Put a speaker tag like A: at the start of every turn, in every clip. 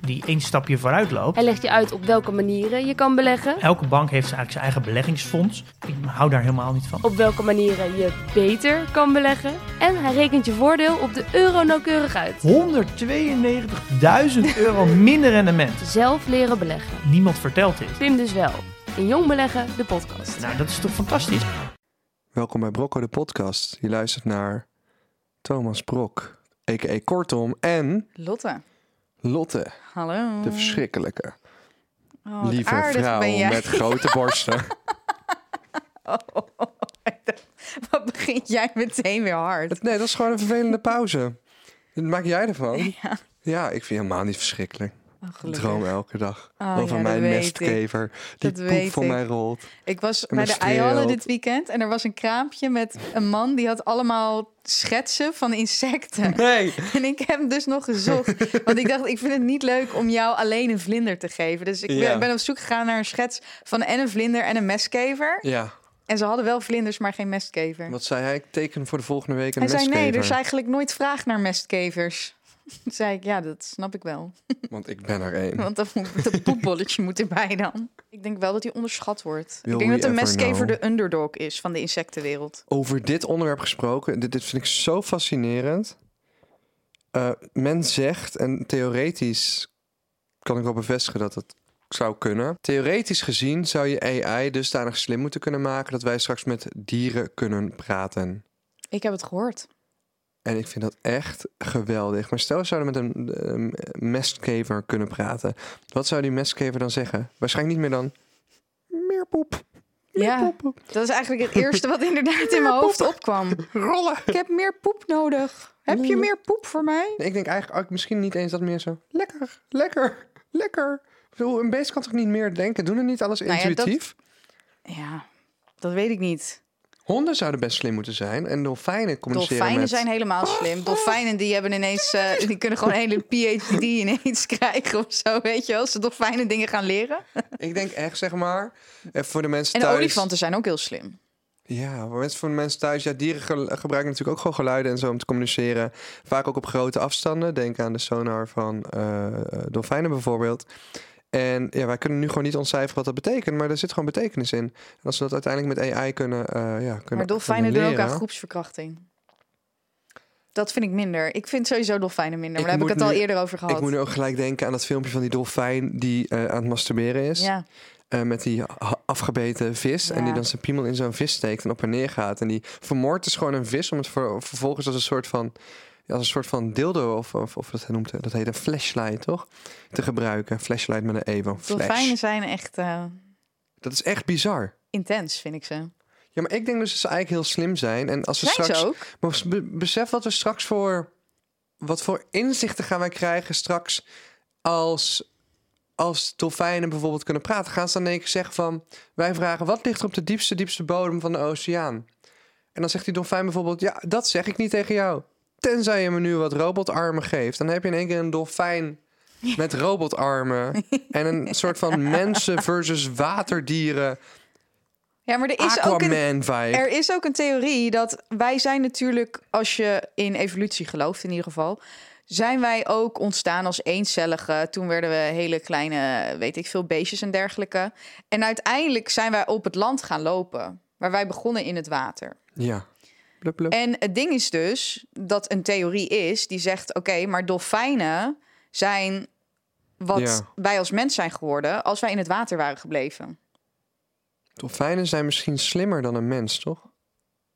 A: die één stapje vooruit loopt.
B: Hij legt je uit op welke manieren je kan beleggen.
A: Elke bank heeft eigenlijk zijn eigen beleggingsfonds. Ik hou daar helemaal niet van.
B: Op welke manieren je beter kan beleggen. En hij rekent je voordeel op de euro nauwkeurig uit.
A: 192.000 euro minder rendement.
B: Zelf leren beleggen.
A: Niemand vertelt dit.
B: Pim dus wel. In Jong Beleggen, de podcast.
A: Nou, dat is toch fantastisch?
C: Welkom bij Brocco de podcast. Je luistert naar Thomas Brok, a.k.a. Kortom, en
D: Lotte,
C: Lotte,
D: hallo.
C: de verschrikkelijke.
D: Oh, wat
C: Lieve
D: aardig
C: vrouw
D: ben jij.
C: met grote borsten.
D: Wat begint jij meteen weer hard?
C: nee, dat is gewoon een vervelende pauze. Dat maak jij ervan. Ja, ik vind je helemaal niet verschrikkelijk.
D: Oh,
C: Ik
D: gelukkig.
C: droom elke dag
D: Oh,
C: over
D: ja, dat
C: mijn
D: weet ik.
C: mestkever die
D: Dat
C: poep
D: weet
C: voor
D: ik.
C: mij rolt.
D: Ik was
C: En
D: bij
C: een
D: de Ayala
C: streelt.
D: dit weekend en er was een kraampje met een man die had allemaal schetsen van insecten.
C: Nee,
D: En ik heb hem dus nog gezocht. Want ik dacht, ik vind het niet leuk om jou alleen een vlinder te geven. Dus ik ben,
C: Ja.
D: ben op zoek gegaan naar een schets van en een vlinder en een mestkever.
C: ja.
D: En ze hadden wel vlinders, maar geen mestkever.
C: Wat zei hij? Ik teken voor de volgende week een
D: Hij zei, nee, er
C: mestkever.
D: is eigenlijk nooit vraag naar mestkevers. Toen zei ik, ja, dat snap ik wel.
C: Want ik ben er één.
D: Want dat, moet- dat poepbolletje moet erbij dan. Ik denk wel dat hij onderschat wordt.
C: Will
D: ik denk
C: we
D: dat de
C: ever
D: mestkever
C: know?
D: de underdog is van de insectenwereld.
C: Over dit onderwerp gesproken, dit, dit vind ik zo fascinerend. Eh, men zegt, en theoretisch kan ik wel bevestigen dat dat zou kunnen. Theoretisch gezien zou je AI dusdanig slim moeten kunnen maken dat wij straks met dieren kunnen praten.
D: Ik heb het gehoord.
C: En ik vind dat echt geweldig. Maar stel, we zouden met een ehm, mestkever kunnen praten. Wat zou die mestkever dan zeggen? Waarschijnlijk niet meer dan. Meer poep.
D: Ja, dat is eigenlijk het eerste wat inderdaad in mijn hoofd opkwam.
C: Rollen.
D: Ik heb meer poep nodig. Heb je meer poep voor mij?
C: Nee, ik denk eigenlijk ook misschien niet eens dat meer zo. Lekker, lekker, lekker. Ik bedoel, een beest kan toch niet meer denken? Doen er niet alles
D: Nou ja, dat-
C: intuïtief?
D: Ja, dat weet ik niet.
C: Honden zouden best slim moeten zijn. En dolfijnen communiceren
D: Dolfijnen
C: met...
D: zijn helemaal slim. Dolfijnen die hebben ineens, eh, die kunnen gewoon een hele PhD ineens krijgen of zo, weet je wel. Als de dolfijnen dingen gaan leren.
C: Ik denk echt, zeg maar, eh, voor de mensen
D: En
C: thuis...
D: olifanten zijn ook heel slim.
C: Ja, voor mensen- voor de mensen thuis. Ja, dieren ge- gebruiken natuurlijk ook gewoon geluiden en zo om te communiceren. Vaak ook op grote afstanden. Denk aan de sonar van eh, eh, dolfijnen bijvoorbeeld. En ja, wij kunnen nu gewoon niet ontcijferen wat dat betekent, maar er zit gewoon betekenis in. En als we dat uiteindelijk met AI kunnen, eh ja, kunnen
D: Maar dolfijnen
C: kunnen
D: doen ook
C: leren.
D: aan groepsverkrachting. Dat vind ik minder. Ik vind sowieso dolfijnen minder. Maar
C: Ik
D: daar heb ik
C: moet
D: het al
C: nu-
D: eerder over gehad.
C: Ik moet nu ook gelijk denken aan dat filmpje van die dolfijn die eh, aan het masturberen is.
D: ja.
C: Eh, met die ha- afgebeten vis. En die
D: Ja.
C: dan zijn piemel in zo'n vis steekt en op en neer gaat. En die vermoordt dus gewoon een vis om het ver- vervolgens als een soort van... ja, Als een soort van dildo, of, of, of dat, noemt, dat heet een flashlight, toch? Te gebruiken. Flashlight met een E van flash.
D: Dolfijnen zijn echt eh,
C: Dat is echt bizar.
D: intens, vind ik ze.
C: Ja, maar ik denk dus dat ze eigenlijk heel slim zijn. En als ze
D: Zijn
C: straks...
D: ze ook?
C: Maar s- be- besef wat we straks voor. Wat voor inzichten gaan wij krijgen straks als. Als dolfijnen bijvoorbeeld kunnen praten, gaan ze dan in één keer zeggen van... wij vragen wat ligt er op de diepste, diepste bodem van de oceaan? En dan zegt die dolfijn bijvoorbeeld... ja, dat zeg ik niet tegen jou. Tenzij je me nu wat robotarmen geeft. Dan heb je in één keer een dolfijn met robotarmen... en een soort van mensen versus waterdieren...
D: Ja, maar er is ook een,
C: Aquaman-vibe.
D: er is ook een theorie dat wij zijn natuurlijk, als je in evolutie gelooft in ieder geval, zijn wij ook ontstaan als eencellige. Toen werden we hele kleine, weet ik veel, beestjes en dergelijke. En uiteindelijk zijn wij op het land gaan lopen, waar wij begonnen in het water.
C: Ja. Blub, blub.
D: En het ding is dus dat een theorie is die zegt: oké, maar dolfijnen zijn wat
C: Ja.
D: wij als mens zijn geworden als wij in het water waren gebleven.
C: Dolfijnen zijn misschien slimmer dan een mens, toch?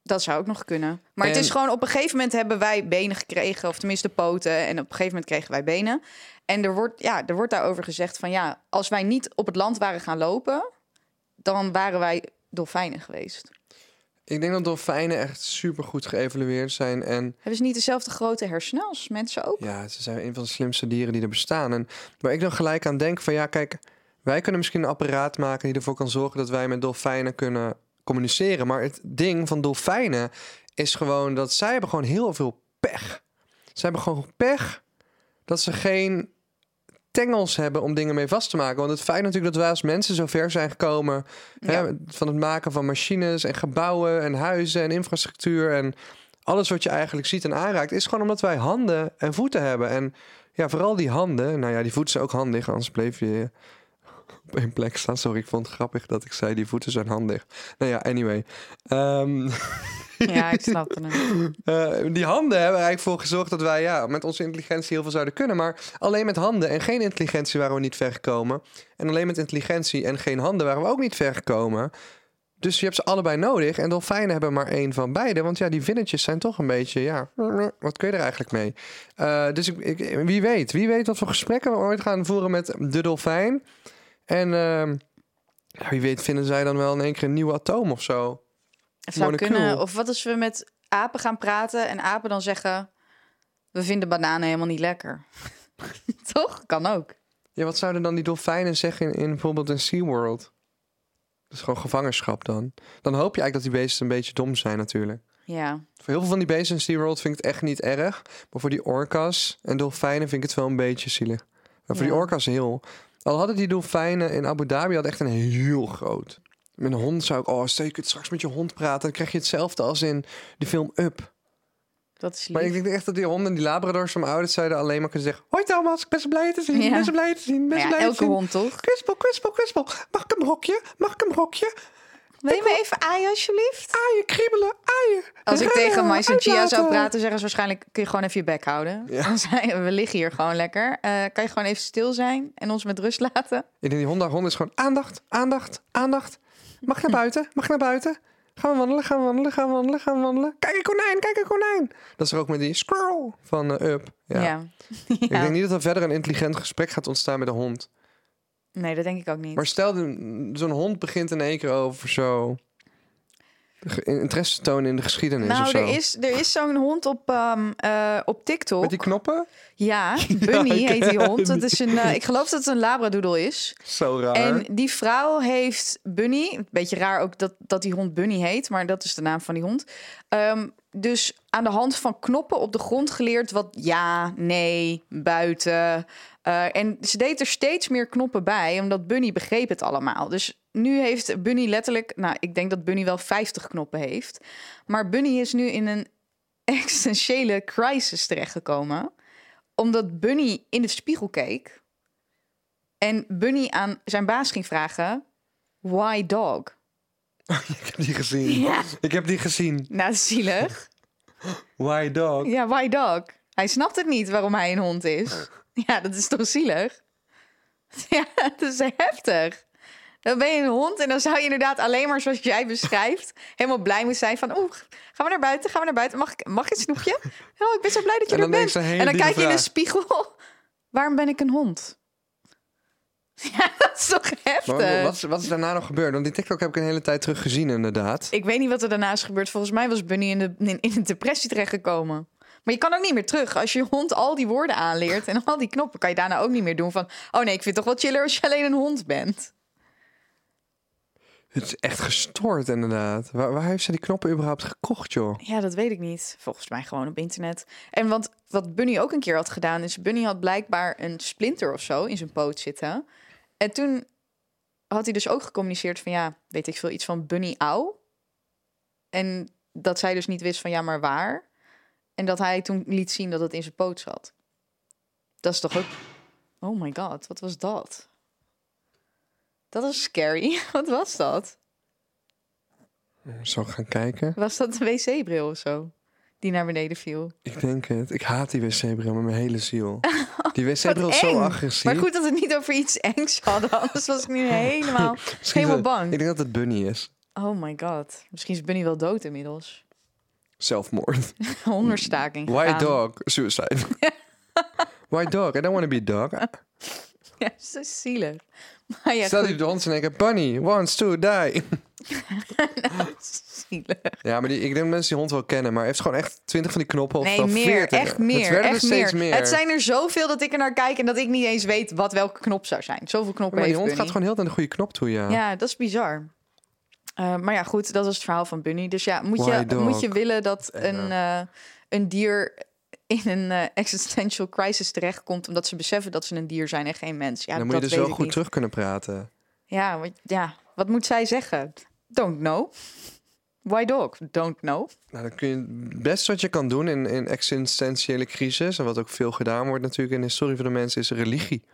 D: Dat zou ook nog kunnen. Maar het
C: En-
D: is gewoon op een gegeven moment hebben wij benen gekregen, of tenminste poten, en op een gegeven moment kregen wij benen. En er wordt, ja, er wordt daarover gezegd van ja, als wij niet op het land waren gaan lopen, dan waren wij dolfijnen geweest.
C: Ik denk dat dolfijnen echt supergoed geëvalueerd zijn. En
D: Hebben ze niet dezelfde grote hersenen als mensen ook?
C: ja, ze zijn een van de slimste dieren die er bestaan. En waar ik dan gelijk aan denk van ja, kijk, wij kunnen misschien een apparaat maken die ervoor kan zorgen dat wij met dolfijnen kunnen communiceren. Maar het ding van dolfijnen is gewoon dat zij hebben gewoon heel veel pech. Zij hebben gewoon pech dat ze geen tengels hebben om dingen mee vast te maken. Want het feit natuurlijk dat wij als mensen zo ver zijn gekomen
D: Ja.
C: hè, van het maken van machines en gebouwen en huizen en infrastructuur en alles wat je eigenlijk ziet en aanraakt, is gewoon omdat wij handen en voeten hebben. En ja, vooral die handen. Nou ja, die voeten zijn ook handig, anders bleef je op één plek staan. Sorry, ik vond het grappig dat ik zei die voeten zijn handig. Nou ja, anyway. Ehm,
D: Ja, ik snap het.
C: eh, die handen hebben er eigenlijk voor gezorgd dat wij ja, met onze intelligentie heel veel zouden kunnen. Maar alleen met handen en geen intelligentie waren we niet ver gekomen. En alleen met intelligentie en geen handen waren we ook niet ver gekomen. Dus je hebt ze allebei nodig. En dolfijnen hebben maar één van beide. Want ja, die vinnetjes zijn toch een beetje, ja, wat kun je er eigenlijk mee? Eh, dus ik, ik- wie weet, wie weet wat voor gesprekken we ooit gaan voeren met de dolfijn. En ehm, ja, wie weet vinden zij dan wel in één keer een nieuw atoom of zo.
D: Het zou
C: Monocuul.
D: kunnen. Of wat als we met apen gaan praten en apen dan zeggen... We vinden bananen helemaal niet lekker. Toch? Kan ook.
C: Ja, wat zouden dan die dolfijnen zeggen in, in bijvoorbeeld een SeaWorld? Dat is gewoon gevangenschap dan. Dan hoop je eigenlijk dat die beesten een beetje dom zijn natuurlijk.
D: Ja.
C: Voor heel veel van die beesten in SeaWorld vind ik het echt niet erg. Maar voor die orka's en dolfijnen vind ik het wel een beetje zielig. Maar voor
D: Ja.
C: die orka's heel. Al hadden die dolfijnen in Abu Dhabi had echt een heel groot. Met een hond zou ik... Oh, stel je kunt straks met je hond praten. Dan krijg je hetzelfde als in de film Up.
D: Dat is lief.
C: Maar ik denk echt dat die honden, die labradors van mijn ouders... zeiden alleen maar kunnen zeggen... Hoi Thomas, ik ben zo blij te zien. Ik
D: Ja.
C: ben zo blij te zien. ik Ben
D: Maar
C: zo
D: ja,
C: blij te
D: elke
C: zien.
D: hond toch?
C: Kwispel, kwispel, kwispel. Mag ik een brokje? Mag ik een brokje?
D: Wil je me even aaien alsjeblieft?
C: Aaien, kriebelen, aaien.
D: Als ik tegen Mais en Chia zou
C: Uitlaten.
D: praten, zeggen ze waarschijnlijk... kun je gewoon even je bek houden.
C: Ja.
D: Dan zijn we liggen hier gewoon lekker. Eh, kan je gewoon even stil zijn en ons met rust laten?
C: Ik denk die hond, hond is gewoon aandacht, aandacht, aandacht. Mag ik naar buiten? Mag ik naar buiten? Gaan we wandelen, gaan we wandelen, gaan we wandelen, gaan we wandelen. Kijk een konijn, kijk een konijn. Dat is er ook met die squirrel van eh, Up. Ja. Ik
D: Ja.
C: denk niet dat er verder een intelligent gesprek gaat ontstaan met de hond.
D: Nee, dat denk ik ook niet.
C: Maar stel, de- zo'n hond begint in één keer over zo... ge- interesse te tonen in de geschiedenis of
D: nou,
C: zo.
D: er is, er is zo'n hond op, ehm, eh, op TikTok.
C: Met die knoppen?
D: Ja, Bunny
C: ik-
D: heet die hond. Dat is een, eh, ik geloof dat het een labradoodle is.
C: Zo raar.
D: En die vrouw heeft Bunny, een beetje raar ook dat, dat die hond Bunny heet, maar dat is de naam van die hond. Ehm, dus aan de hand van knoppen op de grond geleerd wat ja, nee, buiten. Eh, en ze deed er steeds meer knoppen bij, omdat Bunny begreep het allemaal. Dus nu heeft Bunny letterlijk, nou ik denk dat Bunny wel 50 knoppen heeft. Maar Bunny is nu in een existentiële crisis terechtgekomen. Omdat Bunny in de spiegel keek. En Bunny aan zijn baas ging vragen: Why dog?
C: Ik heb die gezien. Ik heb die gezien.
D: Nou, zielig.
C: Why dog?
D: Ja, why dog? Hij snapt het niet waarom hij een hond
C: Oh.
D: is. Ja, dat is toch zielig? Ja, dat is heftig. Dan ben je een hond en dan zou je inderdaad alleen maar zoals jij beschrijft... helemaal blij moeten zijn van... oeh, gaan we naar buiten, gaan we naar buiten. Mag ik, mag ik een snoepje? Oh, ik ben zo blij dat je
C: En
D: er
C: dan denkt
D: bent.
C: ze een hele
D: En dan
C: diepe
D: kijk je in de
C: vraag.
D: spiegel. Waarom ben ik een hond? Ja, dat is toch heftig?
C: Maar wat- wat, is- wat is daarna nog gebeurd? Want die TikTok heb ik een hele tijd terug gezien, inderdaad.
D: Ik weet niet wat er daarna is gebeurd. Volgens mij was Bunny in, de, in, in een depressie terechtgekomen. Maar je kan ook niet meer terug. Als je hond al die woorden aanleert en al die knoppen, kan je daarna ook niet meer doen van... Oh nee, ik vind het toch wel chiller als je alleen een hond bent.
C: Het is echt gestoord, inderdaad. Waar, waar heeft ze die knoppen überhaupt gekocht, joh?
D: Ja, dat weet ik niet. Volgens mij gewoon op internet. En want wat Bunny ook een keer had gedaan, is Bunny had blijkbaar een splinter of zo in zijn poot zitten. En toen had hij dus ook gecommuniceerd van ja, weet ik veel, iets van Bunny au. En dat zij dus niet wist van ja, maar waar. En dat hij toen liet zien dat het in zijn poot zat. Dat is toch ook... Oh my god, wat was dat? Dat was scary. Wat was dat?
C: Zal ik gaan kijken?
D: Was dat een wc-bril of zo? Die naar beneden viel.
C: Ik denk het. Ik haat die wc-bril met mijn hele ziel. Die
D: Oh, Wat
C: wc-bril is zo
D: eng.
C: agressief.
D: Maar goed dat we het niet over iets engs hadden. Anders was ik nu helemaal,
C: Misschien
D: helemaal
C: dat- Ik
D: bang.
C: denk dat het Bunny is.
D: Oh my god. Misschien is Bunny wel dood inmiddels.
C: Zelfmoord.
D: Hongerstaking
C: Why
D: gegaan.
C: dog? Suicide. Why dog? I don't want to be a dog.
D: Ja, zo zielig. Maar ja,
C: Stel
D: goed,
C: die de hond en ik bunny, wants to die.
D: zielig.
C: Ja, maar die, ik denk dat mensen die hond wel kennen, maar hij heeft gewoon echt 20 van die knoppen of
D: Nee,
C: wel
D: meer.
C: 40.
D: Echt
C: Het
D: meer.
C: werden
D: Echt
C: er steeds
D: meer.
C: meer.
D: Het zijn er zoveel dat ik er naar kijk en dat ik niet eens weet wat welke knop zou zijn. Zoveel knoppen
C: maar die hond
D: heeft
C: gaat
D: Bunny.
C: gewoon heel naar de goede knop toe, ja.
D: Ja, dat is bizar. Eh, maar ja, goed, dat was het verhaal van Bunny. Dus ja, moet
C: Why
D: je,
C: dog?
D: moet je willen dat een, eh, een dier in een eh, existential crisis terechtkomt... omdat ze beseffen dat ze een dier zijn en geen mens. Ja,
C: dan
D: dat
C: moet je dus
D: weet
C: wel
D: ik
C: goed
D: niet.
C: terug kunnen praten.
D: Ja, wat, ja, wat moet zij zeggen? Don't know. Why dog? Don't know.
C: Nou, dan kun je het beste wat je kan doen in, in existentiële crisis, en wat ook veel gedaan wordt natuurlijk in de historie van de mens, is religie.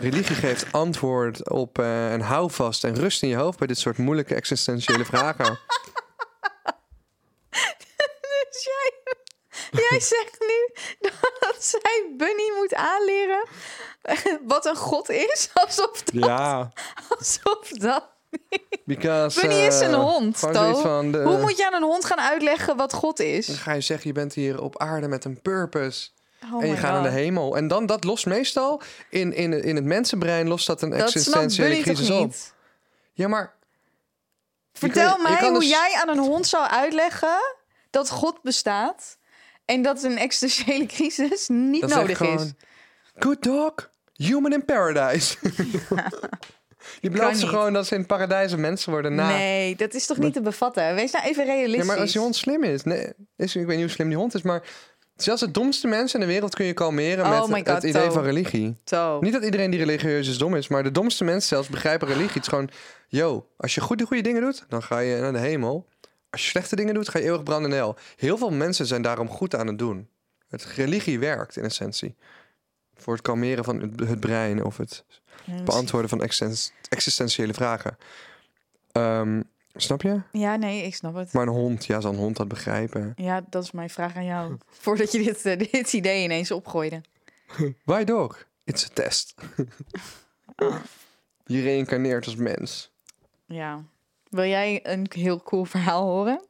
C: Religie geeft antwoord op eh, en houvast en rust in je hoofd bij dit soort moeilijke existentiële vragen.
D: Dus jij, jij zegt nu dat zij Bunny moet aanleren wat een god is. Alsof dat...
C: Ja,
D: Alsof dat...
C: because...
D: Bunny is
C: eh,
D: een hond,
C: gewoon
D: Toon.
C: zoiets van, eh,
D: Hoe moet je aan een hond gaan uitleggen wat god
C: Dan
D: is?
C: ga je zeggen, je bent hier op aarde met een purpose.
D: Oh
C: en je
D: my
C: gaat
D: God.
C: naar de hemel. En dan, dat lost meestal, in, in, in het mensenbrein lost dat een
D: Dat snapt
C: existentiële
D: Bunny toch
C: crisis dus op.
D: niet?
C: Ja, maar
D: Vertel
C: je
D: mij
C: kan
D: hoe
C: dus-
D: jij aan een hond zou uitleggen dat God bestaat en dat een existentiële crisis niet
C: Dat
D: nodig
C: gewoon,
D: is.
C: Good dog, human in paradise. je belooft ze
D: niet.
C: gewoon dat ze in het paradijs een mensen worden na.
D: Nee, dat is toch niet te bevatten? Wees nou even
C: Ja,
D: realistisch.
C: maar als die hond slim is, nee, is, ik weet niet hoe slim die hond is, maar zelfs de domste mensen in de wereld kun je kalmeren
D: Oh my
C: met
D: God,
C: het idee
D: Toon.
C: van religie.
D: Zo.
C: Niet dat iedereen die religieus is dom is, maar de domste mensen zelfs begrijpen religie. Het is gewoon, yo, als je goed de goede dingen doet, dan ga je naar de hemel. Als je slechte dingen doet, ga je eeuwig branden in de hel. Heel veel mensen zijn daarom goed aan het doen. Het religie werkt in essentie. Voor het kalmeren van het, het brein of het beantwoorden van existen- existentiële vragen. Ehm, snap je?
D: Ja, nee, ik snap het.
C: Maar een hond, ja, zal een hond dat begrijpen.
D: Ja, dat is mijn vraag aan jou. Voordat je dit, eh, dit idee ineens opgooide.
C: Why dog? It's a test. Je reïncarneert als mens.
D: Ja. Wil jij een heel cool verhaal horen?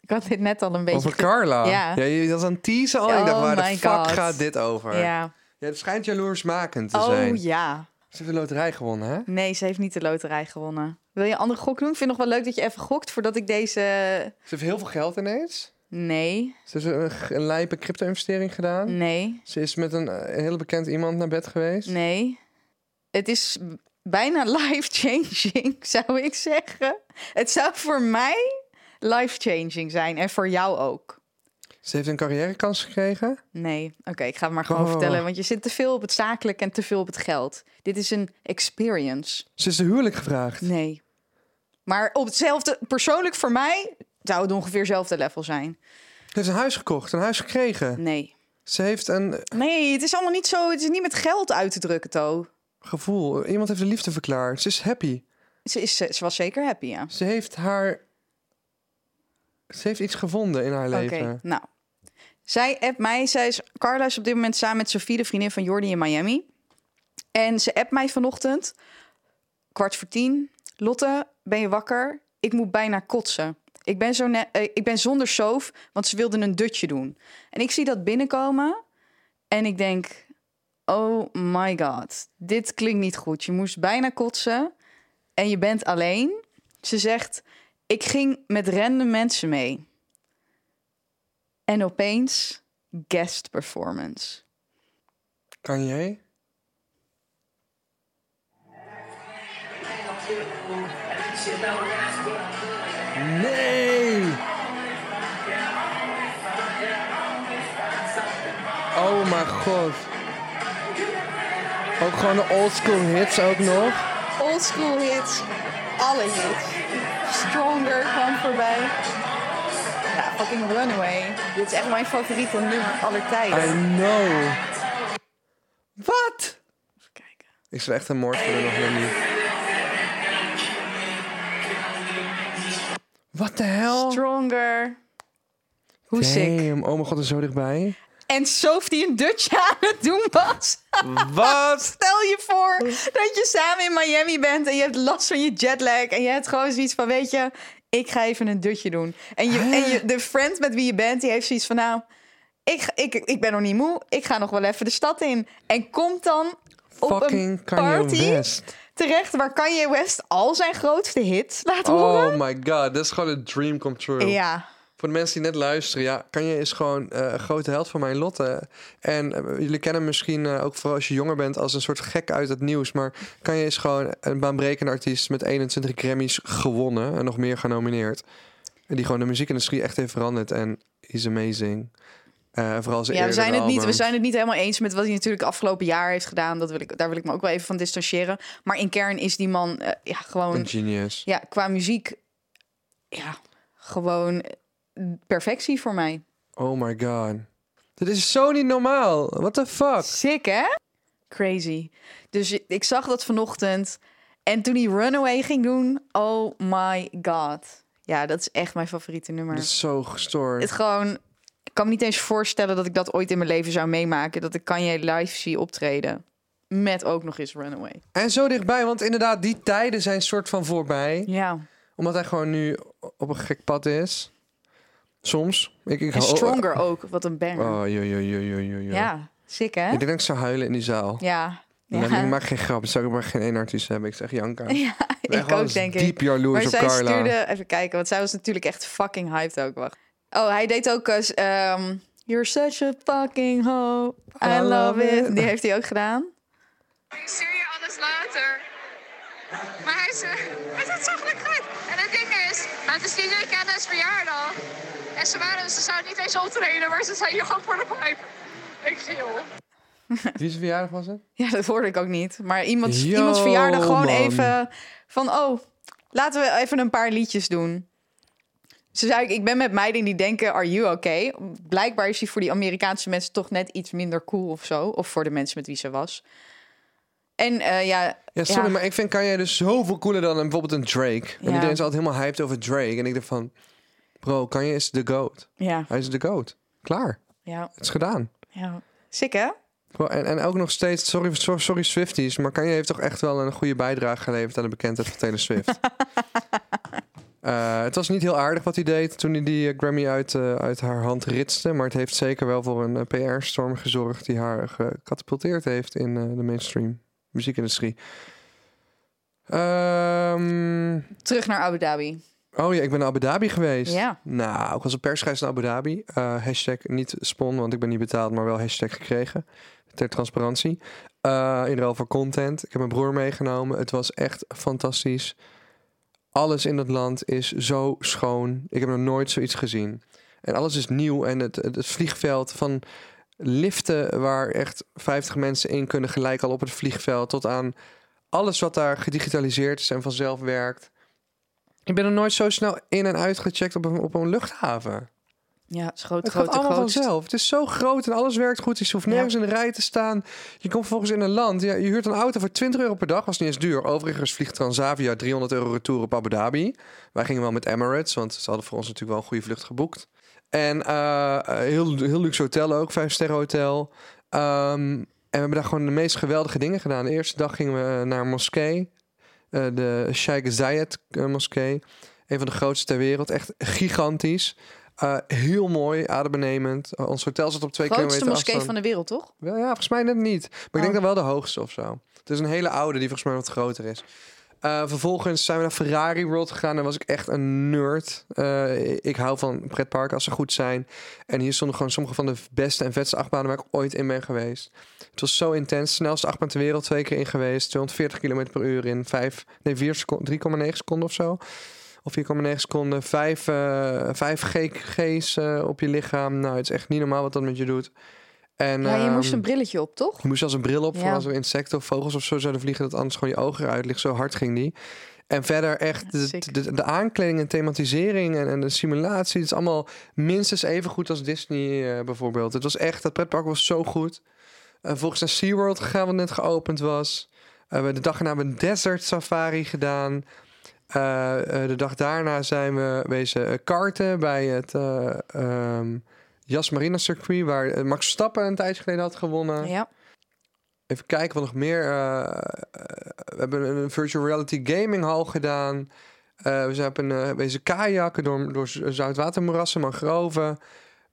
D: Ik had dit net al een beetje...
C: Over Carla.
D: Ja.
C: je was aan het teasen al. ik dacht,
D: Oh
C: waar de
D: my
C: fuck
D: God.
C: gaat dit over? Ja.
D: Ja.
C: het schijnt jaloersmakend te zijn.
D: Oh ja.
C: Ze heeft de loterij gewonnen, hè?
D: Nee, ze heeft niet de loterij gewonnen. Wil je een andere gok doen? Ik vind het nog wel leuk dat je even gokt voordat ik deze...
C: Ze heeft heel veel geld ineens.
D: Nee,
C: Ze heeft een, g- een lijpe crypto-investering gedaan.
D: nee,
C: Ze is met een, eh, hele bekend iemand naar bed geweest.
D: nee. Het is bijna life-changing, zou ik zeggen. Het zou voor mij life-changing zijn en voor jou ook.
C: Ze heeft een carrièrekans gekregen.
D: Nee, oké, ik ga het maar gewoon
C: Oh.
D: vertellen. Want je zit te veel op het zakelijk en te veel op het geld. Dit is een experience.
C: Ze is de huwelijk gevraagd.
D: Nee. Maar op hetzelfde, persoonlijk voor mij zou het ongeveer hetzelfde level zijn.
C: Ze heeft een huis gekocht, een huis gekregen.
D: Nee.
C: Ze heeft een eh,
D: Nee, het is allemaal niet zo. Het is niet met geld uit te drukken, To.
C: gevoel. Iemand heeft de liefde verklaard. Ze is happy.
D: Ze, is, ze was zeker happy, ja.
C: Ze heeft haar... Ze heeft iets gevonden in haar
D: Oké,
C: leven.
D: nou. Zij appt mij. Zij is, Carla is op dit moment samen met Sophie, de vriendin van Jordi in Miami. En ze appt mij vanochtend. Kwart voor tien. Lotte, ben je wakker? Ik moet bijna kotsen. Ik ben, zo ne- eh, ik ben zonder soof, want ze wilden een dutje doen. En ik zie dat binnenkomen. En ik denk, oh my god. Dit klinkt niet goed. Je moest bijna kotsen. En je bent alleen. Ze zegt, ik ging met random mensen mee. En opeens guest performance.
C: Kan jij? Nee! Oh mijn god. Ook gewoon de oldschool hits ook nog.
D: Old school hits, alle hits. Stronger kwam voorbij. Ja, fucking Runaway. Dit is echt mijn favoriete nummer aller tijden.
C: I know. Wat?
D: Even kijken.
C: Ik zou echt een moord willen nog helemaal niet. Wat de hel?
D: Stronger. Hoe sick.
C: Damn, oh mijn god, er zo dichtbij.
D: En Sof die een dutje aan het doen was.
C: Wat?
D: Stel je voor dat je samen in Miami bent en je hebt last van je jetlag. En je hebt gewoon zoiets van, weet je, ik ga even een dutje doen. En, je, en
C: Ah.
D: je, de friend met wie je bent, die heeft zoiets van, nou, ik, ga- ik, ik ben nog niet moe. Ik ga nog wel even de stad in. En komt dan op een
C: Fucking Kanye
D: party
C: West.
D: terecht waar Kanye West al zijn grootste hit laat
C: Oh
D: horen.
C: my god, dat is gewoon een dream come true.
D: Ja,
C: Voor de mensen die net luisteren, ja, Kanye is gewoon eh, een grote held van mijn Lotte. En eh, jullie kennen hem misschien eh, ook vooral als je jonger bent als een soort gek uit het nieuws. Maar Kanye is gewoon een baanbrekende artiest met 21 Grammys gewonnen en nog meer genomineerd. En die gewoon de muziekindustrie echt heeft veranderd en is amazing. Eh, vooral zijn
D: Ja, we
C: eerdere
D: zijn, het niet, we
C: album.
D: zijn het niet helemaal eens met wat hij natuurlijk afgelopen jaar heeft gedaan. Dat wil ik, daar wil ik me ook wel even van distancieren. Maar in kern is die man eh, ja, gewoon
C: Een genius.
D: ja, qua muziek, ja, gewoon perfectie voor mij.
C: Oh my god. Dit is zo niet normaal. What the fuck?
D: Sick, hè? Crazy. Dus i- ik zag dat vanochtend. En toen hij Runaway ging doen, oh my god. Ja, dat is echt mijn favoriete nummer.
C: Dat is zo gestoord.
D: Het gewoon, ik kan me niet eens voorstellen dat ik dat ooit in mijn leven zou meemaken. Dat ik Kanye live zie optreden. Met ook nog eens Runaway.
C: En zo dichtbij, want inderdaad, die tijden zijn soort van voorbij.
D: Ja.
C: Omdat hij gewoon nu op een gek pad is. Soms. Ik, ik
D: En
C: hou-
D: Stronger ook, wat een banger.
C: Oh, joh, joh, joh, joh, joh, joh.
D: Ja, sick hè?
C: Ik denk dat ik zou huilen in die zaal.
D: Ja.
C: Ja.
D: Ja.
C: ik maak geen grap. Ik zou ook maar geen één artiest hebben. Ik zeg Janka.
D: Ja,
C: ben
D: ik
C: gewoon
D: ook denk ik.
C: diep jaloers
D: Maar
C: op
D: zij
C: Carla.
D: stuurde, even kijken, want zij was natuurlijk echt fucking hyped ook. Wacht. Oh, hij deed ook eens, ehm, You're such a fucking hoe, I love it. Die heeft hij ook gedaan.
E: Ik stuur je alles later. Maar hij is, het is zo gelukkig. En het ding is, het is niet weekend, het is verjaardag. En ze waren, ze zouden niet eens optreden, maar ze zijn hier gewoon voor de pijp. Ik zie joh.
C: Wie zijn verjaardag was het?
D: Ja, dat hoorde ik ook niet. Maar iemand,
C: Yo,
D: iemands verjaardag gewoon
C: man.
D: even van... Oh, laten we even een paar liedjes doen. Ze zei, ik ben met meiden die denken, are you okay? Blijkbaar is hij voor die Amerikaanse mensen toch net iets minder cool of zo. Of voor de mensen met wie ze was. En eh, ja...
C: Ja, sorry, maar ik vind Kanye dus zoveel cooler dan een- bijvoorbeeld een Drake. En
D: Ja.
C: iedereen is altijd helemaal hyped over Drake. En ik dacht van, bro, Kanye is de GOAT.
D: Ja,
C: Hij is de GOAT. Klaar.
D: ja,
C: Het is gedaan.
D: ja. Sick, hè?
C: Bro, En, en ook nog steeds, sorry, so- sorry Swifties, maar Kanye heeft toch echt wel een goede bijdrage geleverd aan de bekendheid van Taylor Swift. Eh, het was niet heel aardig wat hij deed toen hij die eh, Grammy uit, eh, uit haar hand ritste, maar het heeft zeker wel voor een PR-storm gezorgd die haar gecatapulteerd heeft in eh, de mainstream muziekindustrie. Ehm,
D: Terug naar Abu Dhabi.
C: oh ja, ik ben naar Abu Dhabi geweest.
D: Ja.
C: Nou, ik was op persreis naar Abu Dhabi. Eh, hashtag niet spon, want ik ben niet betaald, maar wel hashtag gekregen. Ter transparantie. Eh in ruil voor content. Ik heb mijn broer meegenomen. Het was echt fantastisch. Alles in dat land is zo schoon. Ik heb nog nooit zoiets gezien. En alles is nieuw. En het, het, het vliegveld van liften waar echt 50 mensen in kunnen gelijk al op het vliegveld. Tot aan alles wat daar gedigitaliseerd is en vanzelf werkt. Ik ben er nooit zo snel in en uitgecheckt op een, op een luchthaven.
D: Ja, het is groot,
C: Het
D: groot,
C: gaat allemaal
D: grootst.
C: vanzelf. Het is zo groot en alles werkt goed. Je hoeft nergens in de rij te staan. Je komt vervolgens in een land. Ja, je huurt een auto voor 20 euro per dag. Was niet eens duur. Overigens vliegt Transavia 300 euro retour op Abu Dhabi. Wij gingen wel met Emirates, want ze hadden voor ons natuurlijk wel een goede vlucht geboekt. En eh, heel, heel luxe hotel ook, vijf sterren hotel. Ehm, en we hebben daar gewoon de meest geweldige dingen gedaan. De eerste dag gingen we naar een moskee. eh, de Sheikh Zayed eh, moskee. Een van de grootste ter wereld. Echt gigantisch. Eh, heel mooi, adembenemend. Eh, ons hotel zat op twee
D: Grootste
C: kilometer
D: moskee
C: afstand.
D: van de wereld, toch?
C: Wel, ja, volgens mij net niet. Maar ik
D: Oh.
C: denk dan wel de hoogste of zo. Het is een hele oude die volgens mij wat groter is. Eh, vervolgens zijn we naar Ferrari World gegaan. Daar was ik echt een nerd. Eh, ik hou van pretparken als ze goed zijn. En hier stonden gewoon sommige van de beste en vetste achtbanen waar ik ooit in ben geweest. Het was zo intens. Snelste achtbaan ter wereld twee keer in geweest. 240 km per uur in vijf, nee, vier seconden, 3,9 seconden of zo. Of 4,9 seconden. Vijf, eh vijf G- G's eh, op je lichaam. Nou, het is echt niet normaal wat dat met je doet. En,
D: Ja, je moest
C: ehm,
D: een brilletje op, toch?
C: je moest zelfs een bril op voor
D: Ja.
C: als er insecten of vogels of zo zouden vliegen, dat anders gewoon je ogen eruit ligt. Zo hard ging die. En verder echt de-
D: sick.
C: de, de, aankleding en thematisering en, en de simulatie. Het is allemaal minstens even goed als Disney eh, bijvoorbeeld. Het was echt, dat pretpark was zo goed. En volgens naar SeaWorld gegaan, wat net geopend was. Eh, we hebben de dag erna hebben we een desert safari gedaan. Eh, eh, de dag daarna zijn we wezen eh, karten bij het eh ehm, Yas Marina circuit... waar eh, Max Verstappen een tijdje geleden had gewonnen.
D: Ja.
C: Even kijken wat nog meer. eh, eh, we hebben een een virtual reality gaming hal gedaan. Eh, we zijn op een eh wezen kajakken door, door z- zoutwatermoerassen, mangroven.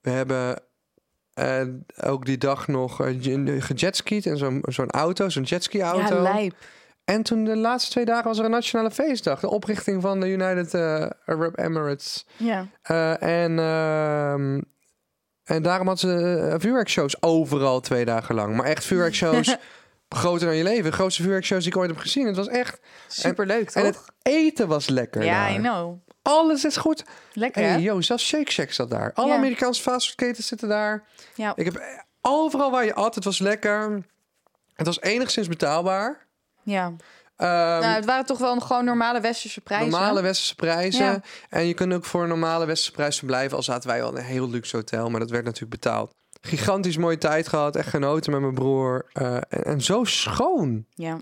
C: We hebben eh, ook die dag nog eh, ge- gejetskied en zo'n zo'n auto, zo'n jetski-auto.
D: Ja, lijp.
C: en toen de laatste twee dagen was er een nationale feestdag. De oprichting van de United eh, Arab Emirates.
D: Ja.
C: Eh, en, ehm, en daarom had ze eh, vuurwerkshows overal twee dagen lang. Maar echt vuurwerkshows groter dan je leven. De grootste vuurwerkshows die ik ooit heb gezien. Het was echt...
D: Superleuk,
C: En
D: toch?
C: het eten was lekker
D: Ja,
C: daar.
D: I know.
C: Alles is goed.
D: Lekker, hè?
C: Hey, yo, zelfs Shake Shack zat daar. Alle
D: Ja.
C: Amerikaanse fastfoodketens zitten daar.
D: Ja.
C: Ik heb eh, overal waar je at, het was lekker. Het was enigszins betaalbaar.
D: ja.
C: Ehm,
D: nou, het waren toch wel gewoon normale westerse prijzen.
C: normale westerse prijzen.
D: Ja.
C: En je kunt ook voor een normale westerse prijs verblijven. Al zaten wij wel in een heel luxe hotel, maar dat werd natuurlijk betaald. Gigantisch mooie tijd gehad. Echt genoten met mijn broer. Eh, en, en zo schoon.
D: Ja.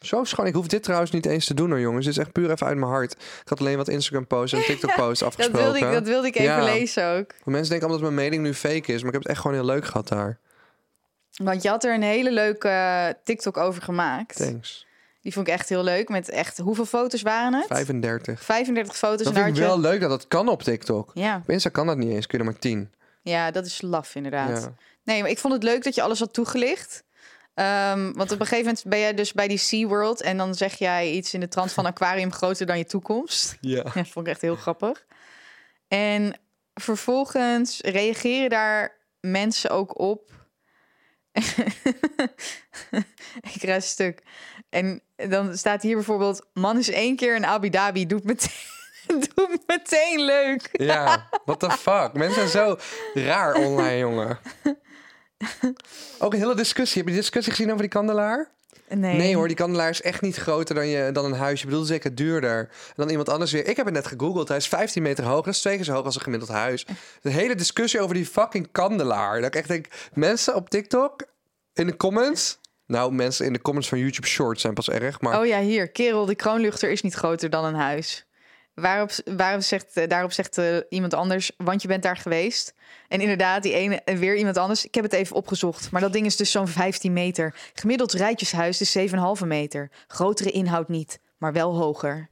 C: Zo schoon. Ik hoef dit trouwens niet eens te doen hoor, jongens. Dit is echt puur even uit mijn hart. Ik had alleen wat Instagram-posts en TikTok-posts
D: Dat
C: afgesproken.
D: wilde, ik, dat wilde ik even
C: Ja.
D: lezen ook.
C: Want Mensen denken allemaal dat mijn mening nu fake is, maar ik heb het echt gewoon heel leuk gehad daar.
D: Want je had er een hele leuke eh, TikTok over gemaakt.
C: Thanks.
D: Die vond ik echt heel leuk. Met echt, hoeveel foto's waren het?
C: 35.
D: 35 foto's.
C: Dat
D: en
C: vind
D: daar
C: ik
D: had
C: wel
D: je-
C: leuk dat dat kan op TikTok.
D: Ja.
C: Op Insta kan dat niet eens, kun je er maar 10.
D: ja, dat is laf inderdaad.
C: Ja.
D: Nee, maar ik vond het leuk dat je alles had toegelicht. Ehm, want op een gegeven moment ben jij dus bij die SeaWorld... en dan zeg jij iets in de trant van aquarium groter dan je toekomst.
C: Ja.
D: Ja, vond ik echt heel grappig. En vervolgens reageren daar mensen ook op. ik raas stuk. En dan staat hier bijvoorbeeld... Man is één keer in Abu Dhabi, doet meteen, doet meteen leuk.
C: Ja, what the fuck. Mensen zijn zo raar online, jongen. Ook een hele discussie. Heb je die discussie gezien over die kandelaar?
D: Nee,
C: Nee hoor, die kandelaar is echt niet groter dan, je, dan een huisje. Ik bedoel, zeker duurder. En dan iemand anders weer. Ik heb het net gegoogeld. Hij is 15 meter hoog. Dat is twee keer zo hoog als een gemiddeld huis. De hele discussie over die fucking kandelaar. Dat ik echt denk, mensen op TikTok in de comments. Nou, mensen in de comments van YouTube Shorts zijn pas erg. Maar
D: Oh ja, hier. Kerel, de kroonluchter is niet groter dan een huis. Waarop, waarop zegt, eh, daarop zegt eh, iemand anders, want je bent daar geweest. En inderdaad, die ene, en weer iemand anders. Ik heb het even opgezocht, maar dat ding is dus zo'n 15 meter. Gemiddeld rijtjeshuis dus is 7,5 meter. Grotere inhoud niet, maar wel hoger.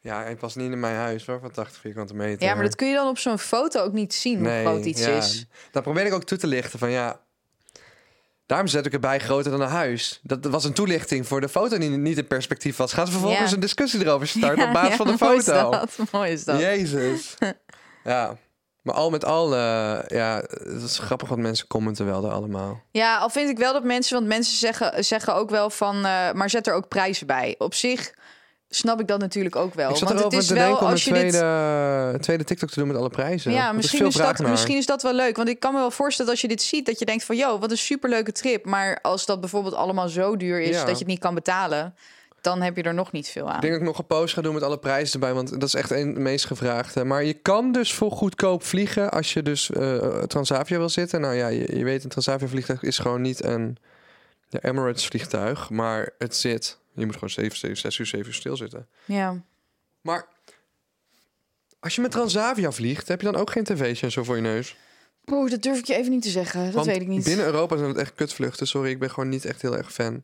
C: ja, hij past niet in mijn huis hoor, van 80 vierkante meter.
D: Ja, maar dat kun je dan op zo'n foto ook niet zien hoe groot iets
C: ja.
D: is.
C: Dat probeer ik ook toe te lichten van ja. Daarom zet ik erbij groter dan een huis. Dat was een toelichting voor de foto die niet in perspectief was. Gaan ze vervolgens
D: Ja.
C: een discussie erover starten op basis
D: Ja,
C: van de
D: Mooi is
C: foto.
D: dat. Mooi is dat.
C: Jezus. ja. Maar al met al, eh, ja, het is grappig wat mensen commenten wel daar allemaal.
D: Ja, al vind ik wel dat mensen, want mensen zeggen, zeggen ook wel van, eh, maar zet er ook prijzen bij. Op zich snap ik dat natuurlijk ook wel.
C: ik zat
D: Oh, want het
C: erover
D: is
C: te
D: wel
C: denken om een
D: als je dit.
C: tweede, tweede TikTok te doen met alle prijzen.
D: Ja,
C: Want er
D: misschien
C: veel
D: is,
C: vraag
D: dat,
C: naar.
D: misschien is dat wel leuk. Want ik kan me wel voorstellen dat als je dit ziet, dat je denkt van, joh, wat een superleuke trip. Maar als dat bijvoorbeeld allemaal zo duur is
C: Ja.
D: dat je het niet kan betalen, dan heb je er nog niet veel aan.
C: Ik denk dat ik nog een post ga doen met alle prijzen erbij, want dat is echt een het meest gevraagde. Maar je kan dus voor goedkoop vliegen als je dus eh, Transavia wil zitten. Nou ja, je, je weet, een Transavia vliegtuig is gewoon niet een ja, Emirates vliegtuig, maar het zit. Je moet gewoon 7, 7, 6 uur, 7 uur stilzitten.
D: Ja.
C: Maar als je met Transavia vliegt, heb je dan ook geen tv's en zo voor je neus?
D: Oeh, dat durf ik je even niet te zeggen. Dat
C: Want
D: weet ik niet.
C: Binnen Europa zijn het echt kutvluchten. Sorry, ik ben gewoon niet echt heel erg fan.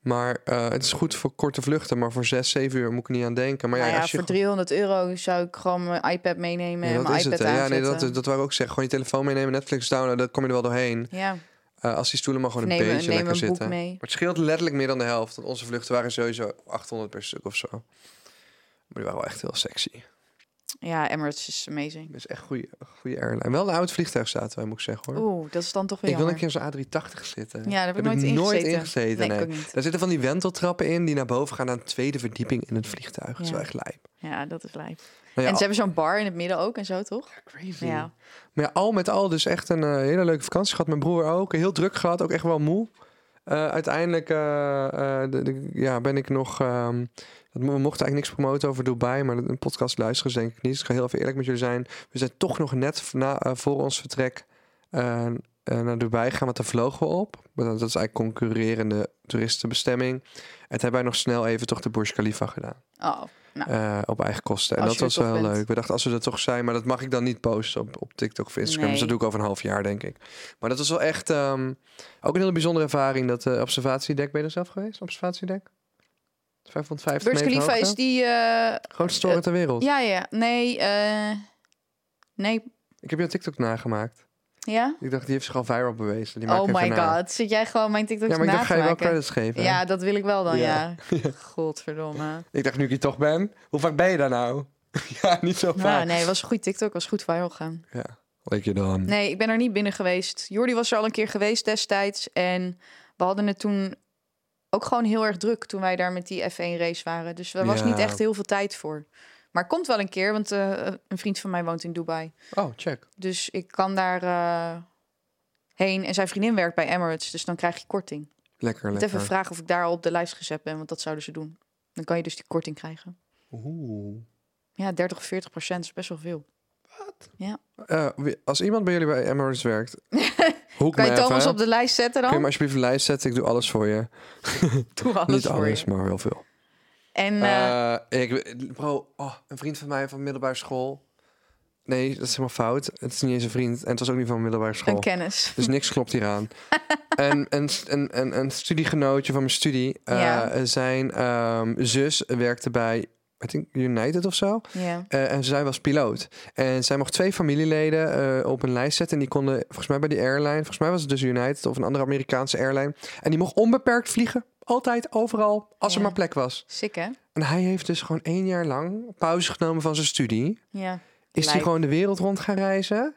C: Maar eh, het is goed voor korte vluchten, maar voor 6, 7 uur moet ik er niet aan denken. Maar ja,
D: Nou ja,
C: als je
D: voor 300 euro zou ik gewoon mijn iPad
C: Ja,
D: meenemen en
C: dat
D: mijn
C: is
D: iPad
C: het. hè. Ja, nee, dat,
D: aanzetten.
C: dat wou ik ook zeggen. Gewoon je telefoon meenemen, Netflix downloaden, dan kom je er wel doorheen.
D: Ja.
C: Eh, als die stoelen maar gewoon
D: Of
C: een
D: neem een-
C: beetje
D: neem
C: lekker
D: een boek
C: zitten.
D: mee.
C: Maar het scheelt letterlijk meer dan de helft. Want onze vluchten waren sowieso 800 per stuk of zo. Maar die waren wel echt heel sexy.
D: ja, Emirates is amazing.
C: Dat is echt goede, goede airline. Wel een oud vliegtuig zaten wij, moet ik zeggen hoor.
D: Oeh, dat is dan toch weer
C: ik wil een
D: jammer.
C: keer zo'n A380 zitten.
D: Ja, daar heb ik nooit in
C: ingezeten. nooit
D: gezeten.
C: ingezeten,
D: Nee, ik
C: nee.
D: ook niet.
C: Daar zitten van die wenteltrappen in die naar boven gaan naar een tweede verdieping in het vliegtuig. Dat is
D: Ja.
C: wel echt lijp.
D: Ja, dat is lijp.
C: Nou ja,
D: en ze hebben zo'n bar in het midden ook en zo, toch?
C: crazy.
D: Ja.
C: Maar ja, al met al dus echt een eh, hele leuke vakantie gehad. Mijn broer ook. Heel druk gehad. Ook echt wel moe. Eh, uiteindelijk eh, eh, de- de- ja, ben ik nog... ehm, dat- we mochten eigenlijk niks promoten over Dubai. Maar een podcast luisteren is denk ik niet. Dus ik ga heel even eerlijk met jullie zijn. We zijn toch nog net na, eh, voor ons vertrek eh, eh, naar Dubai gaan. Want daar vlogen we op. Maar Dat dat is eigenlijk concurrerende toeristenbestemming. En toen hebben wij nog snel even toch de Burj Khalifa gedaan.
D: Oh, nou.
C: Eh, op eigen kosten. En
D: Als
C: dat
D: je
C: was
D: er
C: wel
D: toch
C: heel
D: bent.
C: leuk. We dachten, als we er toch zijn, maar dat mag ik dan niet posten op, op TikTok of Instagram. Dus dat
D: Nee.
C: doe ik over een half jaar, denk ik. Maar dat was wel echt ehm, ook een hele bijzondere ervaring. Dat eh, observatiedek, ben je er zelf geweest? Observatiedek? 550
D: Burj
C: meter
D: Khalifa
C: hoogte?
D: is die... eh,
C: Grootste toren ter wereld.
D: ja, ja. Nee, eh, nee,
C: Ik heb je TikTok nagemaakt.
D: ja?
C: Ik dacht, die heeft zich al viral bewezen. Die maak
D: Oh
C: ik even
D: my
C: na.
D: god, zit jij gewoon mijn TikToks
C: Ja, maar ik
D: na
C: dacht,
D: te
C: ga je wel
D: maken?
C: credits geven?
D: Ja, dat wil ik wel dan, ja.
C: Ja.
D: Godverdomme.
C: Ik dacht, nu ik hier toch ben, hoe vaak ben je daar nou? ja, niet zo vaak.
D: Nou, nee, was een goed TikTok, was goed viral gaan.
C: Ja, leek je dan.
D: Nee, ik ben er niet binnen geweest. Jordi was er al een keer geweest destijds. En we hadden het toen ook gewoon heel erg druk toen wij daar met die F1 race waren. Dus er was
C: Ja.
D: niet echt heel veel tijd voor. Maar komt wel een keer, want eh, een vriend van mij woont in Dubai.
C: Oh, check.
D: Dus ik kan daar eh, heen. En zijn vriendin werkt bij Emirates, dus dan krijg je korting.
C: Lekker,
D: Ik moet
C: lekker.
D: even vragen of ik daar al op de lijst gezet ben, want dat zouden ze doen. Dan kan je dus die korting krijgen.
C: Oeh.
D: Ja, 30 of 40 procent is best wel veel.
C: Eh, wie- als iemand bij jullie bij Emirates werkt, hoek
D: Kan
C: me
D: je
C: even.
D: Thomas
C: hè?
D: op de lijst zetten
C: Kun je me
D: dan?
C: alsjeblieft een lijst zetten? Ik doe alles voor je.
D: Doe alles
C: Niet
D: voor
C: alles,
D: je.
C: maar wel veel.
D: En eh,
C: Eh, ik, bro, oh, een vriend van mij van middelbare school. Nee, dat is helemaal fout. Het is niet eens een vriend. En het was ook niet van middelbare school.
D: een kennis.
C: Dus niks klopt hieraan. en, en, en, en een studiegenootje van mijn studie. eh,
D: Ja.
C: Zijn ehm, zus werkte bij I think United of zo.
D: Ja.
C: Eh, en zij was piloot. En zij mocht twee familieleden eh, op een lijst zetten. En die konden, volgens mij bij die airline, volgens mij was het dus United of een andere Amerikaanse airline. En die mocht onbeperkt vliegen. Altijd, overal, als er
D: Ja.
C: maar plek was.
D: Sick hè?
C: En hij heeft dus gewoon één jaar lang pauze genomen van zijn studie.
D: Ja.
C: Is hij
D: Lijp.
C: gewoon de wereld rond gaan reizen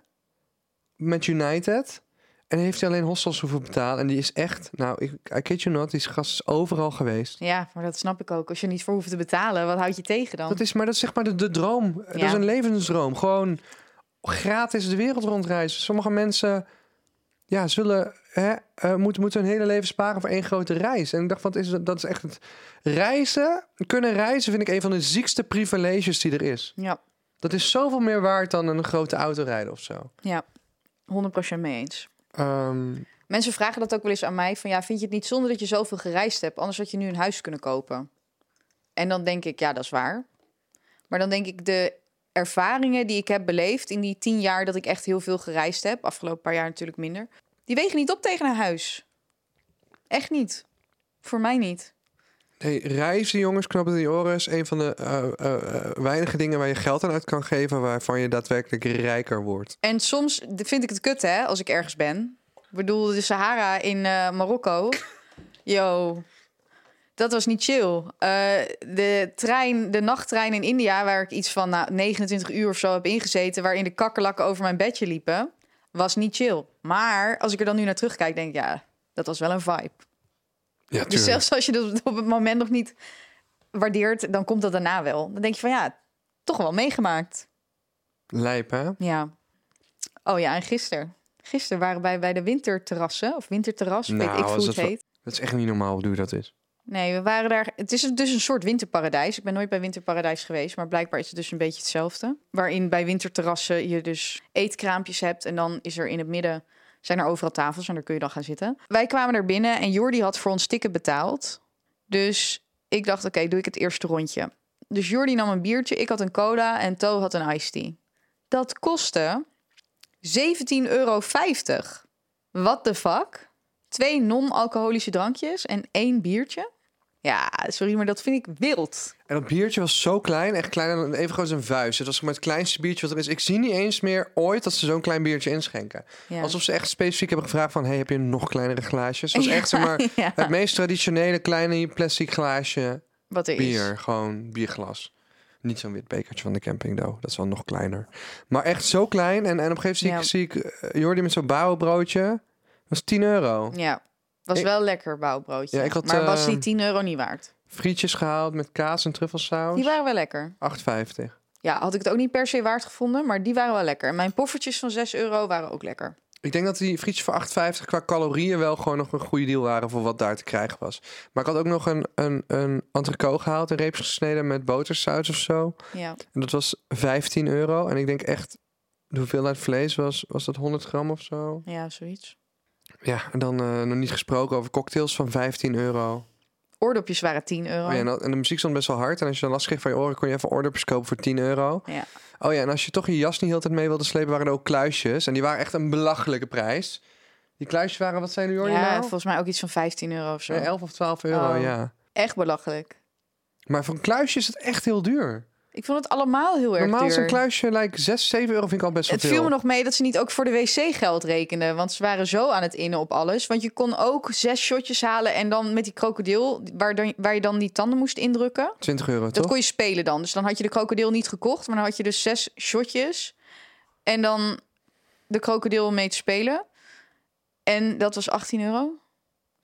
C: met United. En heeft hij alleen hostels hoeven betalen. En die is echt, nou, ik, I kid you not, die is gast is overal geweest.
D: ja, maar dat snap ik ook. Als je er niet voor hoeft te betalen, wat houd je tegen dan?
C: Dat is, maar dat is zeg maar de, de droom. Dat
D: Ja.
C: is een levensdroom. Gewoon gratis de wereld rondreizen. Sommige mensen ja, zullen, hè, eh, moeten, moeten hun hele leven sparen voor één grote reis. En ik dacht, wat is, dat Dat is echt het... Reizen, kunnen reizen vind ik een van de ziekste privileges die er is.
D: Ja,
C: Dat is zoveel meer waard dan een grote auto rijden of zo.
D: ja. 100% mee eens.
C: Ehm,
D: Mensen vragen dat ook wel eens aan mij: van ja, vind je het niet zonde dat je zoveel gereisd hebt? Anders had je nu een huis kunnen kopen. En dan denk ik, ja, dat is waar. Maar dan denk ik, de ervaringen die ik heb beleefd in die tien jaar dat ik echt heel veel gereisd heb, afgelopen paar jaar natuurlijk minder, die wegen niet op tegen een huis. Echt niet. Voor mij niet.
C: Hey, reizen, jongens, knap in die oren is een van de eh, eh, eh, weinige dingen waar je geld aan uit kan geven, waarvan je daadwerkelijk rijker wordt.
D: En soms d- vind ik het kut, hè, als ik ergens ben. Ik bedoel, de Sahara in eh, Marokko. Yo, dat was niet chill. Eh, de trein, de nachttrein in India, waar ik iets van nou, 29 uur of zo heb ingezeten... waarin de kakkerlakken over mijn bedje liepen, was niet chill. Maar als ik er dan nu naar terugkijk, denk ik, ja, dat was wel een vibe.
C: Ja,
D: Dus zelfs als je dat op het moment nog niet waardeert, dan komt dat daarna wel. Dan denk je van, ja, toch wel meegemaakt.
C: Lijp, hè?
D: Ja. Oh ja, en gisteren. Gisteren waren wij bij de winterterrassen, of winterterras,
C: Nou,
D: weet ik
C: was
D: hoe
C: het
D: het
C: wel-
D: heet.
C: Dat is echt niet normaal hoe duur dat is.
D: Nee, we waren daar. Het is dus een soort winterparadijs. Ik ben nooit bij winterparadijs geweest, maar blijkbaar is het dus een beetje hetzelfde. Waarin bij winterterrassen je dus eetkraampjes hebt en dan is er in het midden zijn er overal tafels en daar kun je dan gaan zitten. Wij kwamen er binnen en Jordi had voor ons ticket betaald. Dus ik dacht, oké, doe ik het eerste rondje. Dus Jordi nam een biertje, ik had een cola en To had een iced tea. Dat kostte 17,50 euro. What the fuck? Twee non-alcoholische drankjes en één biertje? Ja, sorry, maar dat vind ik wild.
C: En dat biertje was zo klein, echt kleiner dan even groot als een vuist. Het was maar het kleinste biertje wat er is. Ik zie niet eens meer ooit dat ze zo'n klein biertje inschenken.
D: Ja.
C: Alsof ze echt specifiek hebben gevraagd van, hey, heb je nog kleinere glaasjes? Het was echt zeg maar
D: Ja,
C: het meest traditionele kleine plastic glaasje
D: wat er is.
C: bier, gewoon bierglas. Niet zo'n wit bekertje van de camping, though. dat is wel nog kleiner. Maar echt zo klein. En, en op een gegeven moment zie ik, zie ik eh, Jordi met zo'n bouwbroodje. Dat was 10 euro.
D: Ja, was
C: Ik-
D: wel lekker bouwbroodje.
C: Ja, ik had,
D: maar was
C: eh,
D: die 10 euro niet waard?
C: Frietjes gehaald met kaas en truffelsaus.
D: Die waren wel lekker.
C: 8,50.
D: Ja, had ik het ook niet per se waard gevonden, maar die waren wel lekker. En mijn poffertjes van 6 euro waren ook lekker.
C: Ik denk dat die frietjes voor 8,50 qua calorieën wel gewoon nog een goede deal waren voor wat daar te krijgen was. Maar ik had ook nog een, een, een entrecote gehaald, een reepjes gesneden met botersaus of zo.
D: Ja,
C: En dat was 15 euro. En ik denk echt, de hoeveelheid vlees was, was dat 100 gram of zo.
D: ja zoiets.
C: Ja, en dan eh, nog niet gesproken over cocktails van 15
D: Oh.
C: euro.
D: Oordopjes waren 10 euro.
C: Oh ja, en, dat- en de muziek stond best wel hard. En als je dan last kreeg van je oren, kon je even oordopjes kopen voor 10 euro.
D: Ja.
C: Oh ja, en als je toch je jas niet heel de tijd mee wilde slepen, waren er ook kluisjes. En die waren echt een belachelijke prijs. Die kluisjes waren, wat zijn nu Jordi
D: Ja,
C: nou?
D: volgens mij ook iets van 15 euro of zo.
C: Nee, 11 of 12 euro,
D: Oh.
C: ja.
D: Echt belachelijk.
C: Maar voor een kluisje is het echt heel duur.
D: Ik vond het allemaal heel erg
C: Normaal is
D: duur.
C: een kluisje, like 6, 7 euro vind ik al best wel
D: Het
C: veel.
D: viel me nog mee dat ze niet ook voor de wc geld rekenden. Want ze waren zo aan het innen op alles. Want je kon ook zes shotjes halen en dan met die krokodil... waar, dan, waar je dan die tanden moest indrukken.
C: 20 euro,
D: Dat
C: toch? Oh,
D: kon je spelen dan. Dus dan had je de krokodil niet gekocht, maar dan had je dus zes shotjes. En dan de krokodil om mee te spelen. En dat was 18 euro.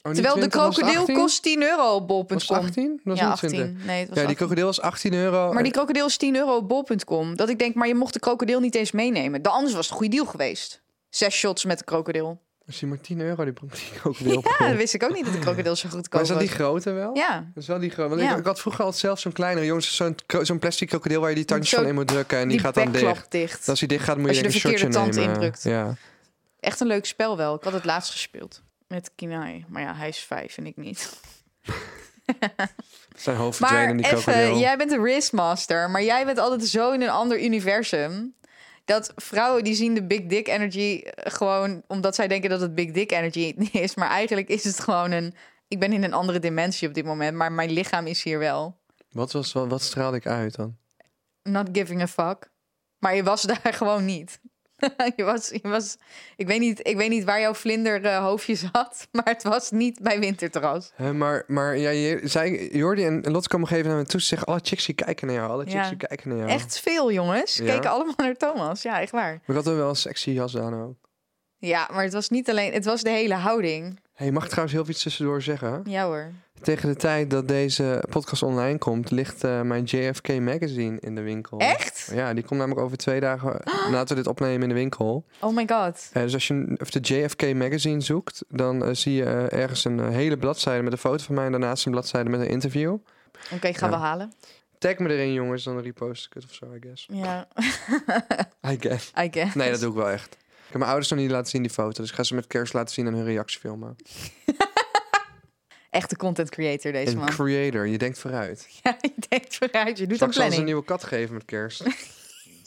C: niet
D: Terwijl
C: 20,
D: de
C: was het
D: krokodil
C: 18?
D: kost 10 euro op
C: Was
D: bol.com.
C: het 18? Dat is
D: ja,
C: niet 20.
D: 18. Nee, het was
C: Ja, die
D: 18.
C: krokodil was 18 euro. Eh,
D: Maar die krokodil is 10 euro op bol.com. Dat ik denk, maar je mocht de krokodil niet eens meenemen. De anders was het een goede deal geweest. Zes shots met de krokodil.
C: Misschien maar 10 euro die, die krokodil.
D: Ja, dat wist ik ook niet dat de krokodil zo goedkoop
C: maar is
D: was.
C: dat die grote wel?
D: Ja,
C: Dat is wel die grote. Want ik-
D: Ja.
C: ik, had vroeger altijd zelf zo'n kleinere, jongens, zo'n kro- zo'n plastic krokodil waar je die tandjes
D: Zo-
C: van in moet drukken en die, gaat dan
D: bekklap
C: dicht.
D: dicht.
C: En als die dicht gaat, moet
D: Als
C: je,
D: je
C: denk
D: de
C: ik een shotje
D: verkeerde tand
C: nemen.
D: indrukt.
C: Ja.
D: Echt een leuk spel wel. Ik had het laatst gespeeld. Met Kinai. Maar ja, hij is vijf en ik niet.
C: Zijn hoofd verdwenen
D: Maar
C: in die
D: even,
C: krokodil.
D: jij bent de wristmaster. Maar jij bent altijd zo in een ander universum. Dat vrouwen die zien de big dick energy eh, gewoon... omdat zij denken dat het big dick energy is. Maar eigenlijk is het gewoon een... Ik ben in een andere dimensie op dit moment. Maar mijn lichaam is hier wel.
C: Wat, was, wat, wat straalde ik uit dan?
D: Not giving a fuck. Maar je was daar gewoon niet. je was, je was, ik, weet niet, ik weet niet waar jouw vlinder eh, hoofdje zat. Maar het was niet bij Winterterras.
C: Hè, maar maar ja, je, zij, Jordi en Lotte komen geven naar me toe. Ze zeggen, alle chicks die kijken naar jou. Alle chicks
D: Ja.
C: die kijken naar jou.
D: Echt veel jongens.
C: Ja.
D: Keken allemaal naar Thomas. Ja, echt waar.
C: Maar ik had dan wel een sexy jas aan ook.
D: Ja, maar het was niet alleen... Het was de hele houding.
C: hey, mag ik trouwens heel veel iets tussendoor zeggen?
D: Ja hoor.
C: Tegen de tijd dat deze podcast online komt, ligt eh, mijn JFK magazine in de winkel.
D: Echt?
C: Ja, die komt namelijk over twee dagen nadat we dit opnemen in de winkel.
D: Oh my god.
C: Eh, dus als je even de JFK magazine zoekt, dan eh, zie je eh, ergens een eh, hele bladzijde met een foto van mij en daarnaast een bladzijde met een interview.
D: Oké, gaan
C: Ja.
D: we halen.
C: Tag me erin jongens, dan repost ik het of zo, I guess.
D: Ja,
C: I guess.
D: I guess.
C: Nee, dat doe ik wel echt. Ik heb mijn ouders nog niet laten zien die foto, dus ik ga ze met kerst laten zien en hun reactie filmen.
D: Echte content creator deze
C: Een
D: man.
C: creator, je denkt vooruit.
D: Ja, je denkt vooruit. Je doet een
C: Straks zal ze een
D: planning.
C: nieuwe kat geven met kerst.